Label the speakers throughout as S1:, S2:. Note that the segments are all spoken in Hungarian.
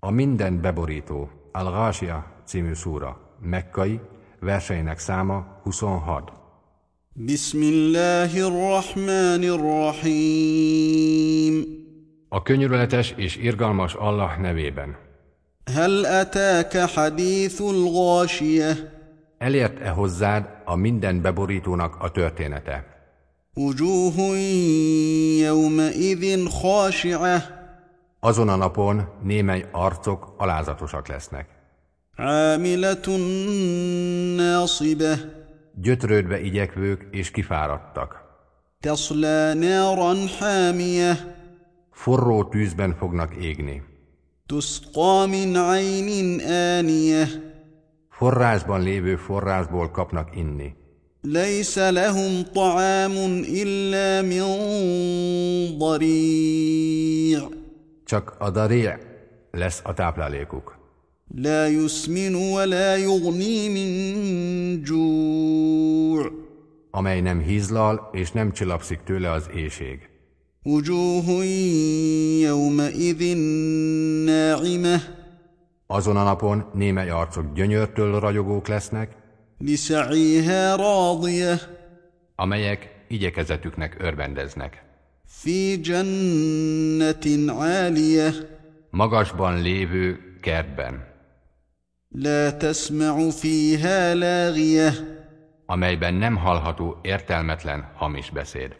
S1: A mindent beborító al című szúra, mekkai, verseinek száma 26.
S2: بسم الله الرحمن الرحيم
S1: A könyörületes és irgalmas Allah nevében.
S2: هل أتاك حديث الغاشية
S1: Elért-e hozzád a minden beborítónak a története?
S2: وجوه يومئذ خاشعة
S1: Azon a napon némely arcok alázatosak lesznek.
S2: عاملة ناصبة
S1: Gyötrődve igyekvők és kifáradtak.
S2: تصلى نارا حامية
S1: Forró tűzben fognak égni.
S2: تسقى من عين آنية
S1: Forrásban lévő forrásból kapnak inni.
S2: ليس لهم طعام إلا من ضريع
S1: Csak a daré lesz a táplálékuk.
S2: لا يسمن ولا يغني من جوع
S1: amely nem hízlal és nem csillapszik tőle az éjség.
S2: وجوه يومئذ ناعمة
S1: Azon a napon némely arcok gyönyörtől ragyogók lesznek,
S2: لسعيها راضية
S1: amelyek igyekezetüknek örvendeznek.
S2: في جنة عالية
S1: Magasban lévő kertben,
S2: لا تسمع فيها لاغية
S1: amelyben nem hallható értelmetlen hamis beszéd.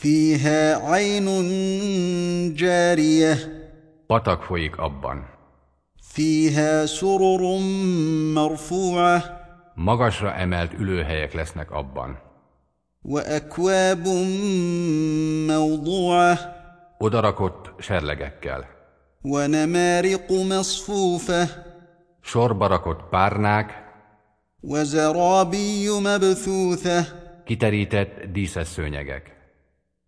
S2: فيها عين جارية
S1: Patak folyik abban.
S2: فيها سرر مرفوعه
S1: Magasra emelt ülőhelyek lesznek abban.
S2: واكواب موضوعه
S1: Odarakott serlegekkel.
S2: ونمارق مصفوفه
S1: Sorba rakott párnák,
S2: وزرابي مبثوثه
S1: kiterített díszes szőnyegek.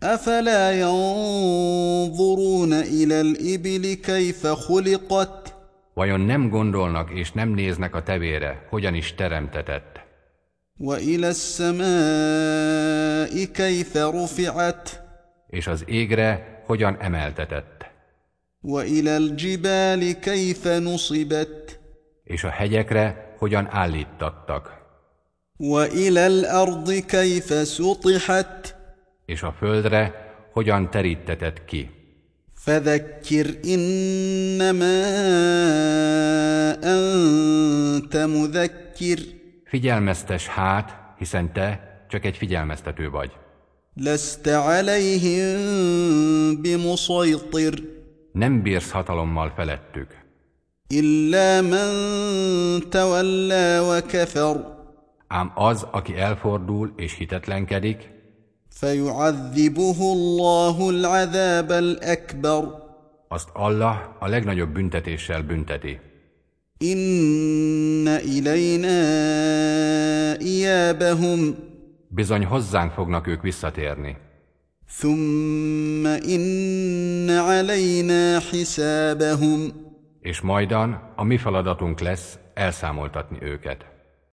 S2: افلا ينظرون الى الابل كيف خلقت
S1: Vajon nem gondolnak és nem néznek a tevére, hogyan is teremtetett,
S2: والى السماء كيف رفعت
S1: és az égre hogyan emeltetett,
S2: والى الجبال كيف نصبت
S1: és a hegyekre hogyan állítattak,
S2: والى الارض كيف سطحت
S1: és a földre hogyan terítetett ki.
S2: فذكر إنما أنت مذكر
S1: Figyelmeztes hát, hiszen te csak egy figyelmeztető vagy.
S2: لست عليهم بمسيطر
S1: Nem bírsz hatalommal felettük,
S2: إلا من تولى وكفر
S1: ám az, aki elfordul és hitetlenkedik,
S2: فيعذبه الله العذاب الأكبر
S1: azt Allah a legnagyobb büntetéssel bünteti.
S2: إن إلينا إيابهم
S1: Bizony hozzánk fognak ők visszatérni.
S2: ثم إن علينا حسابهم
S1: és majdan a mi feladatunk lesz elszámoltatni őket.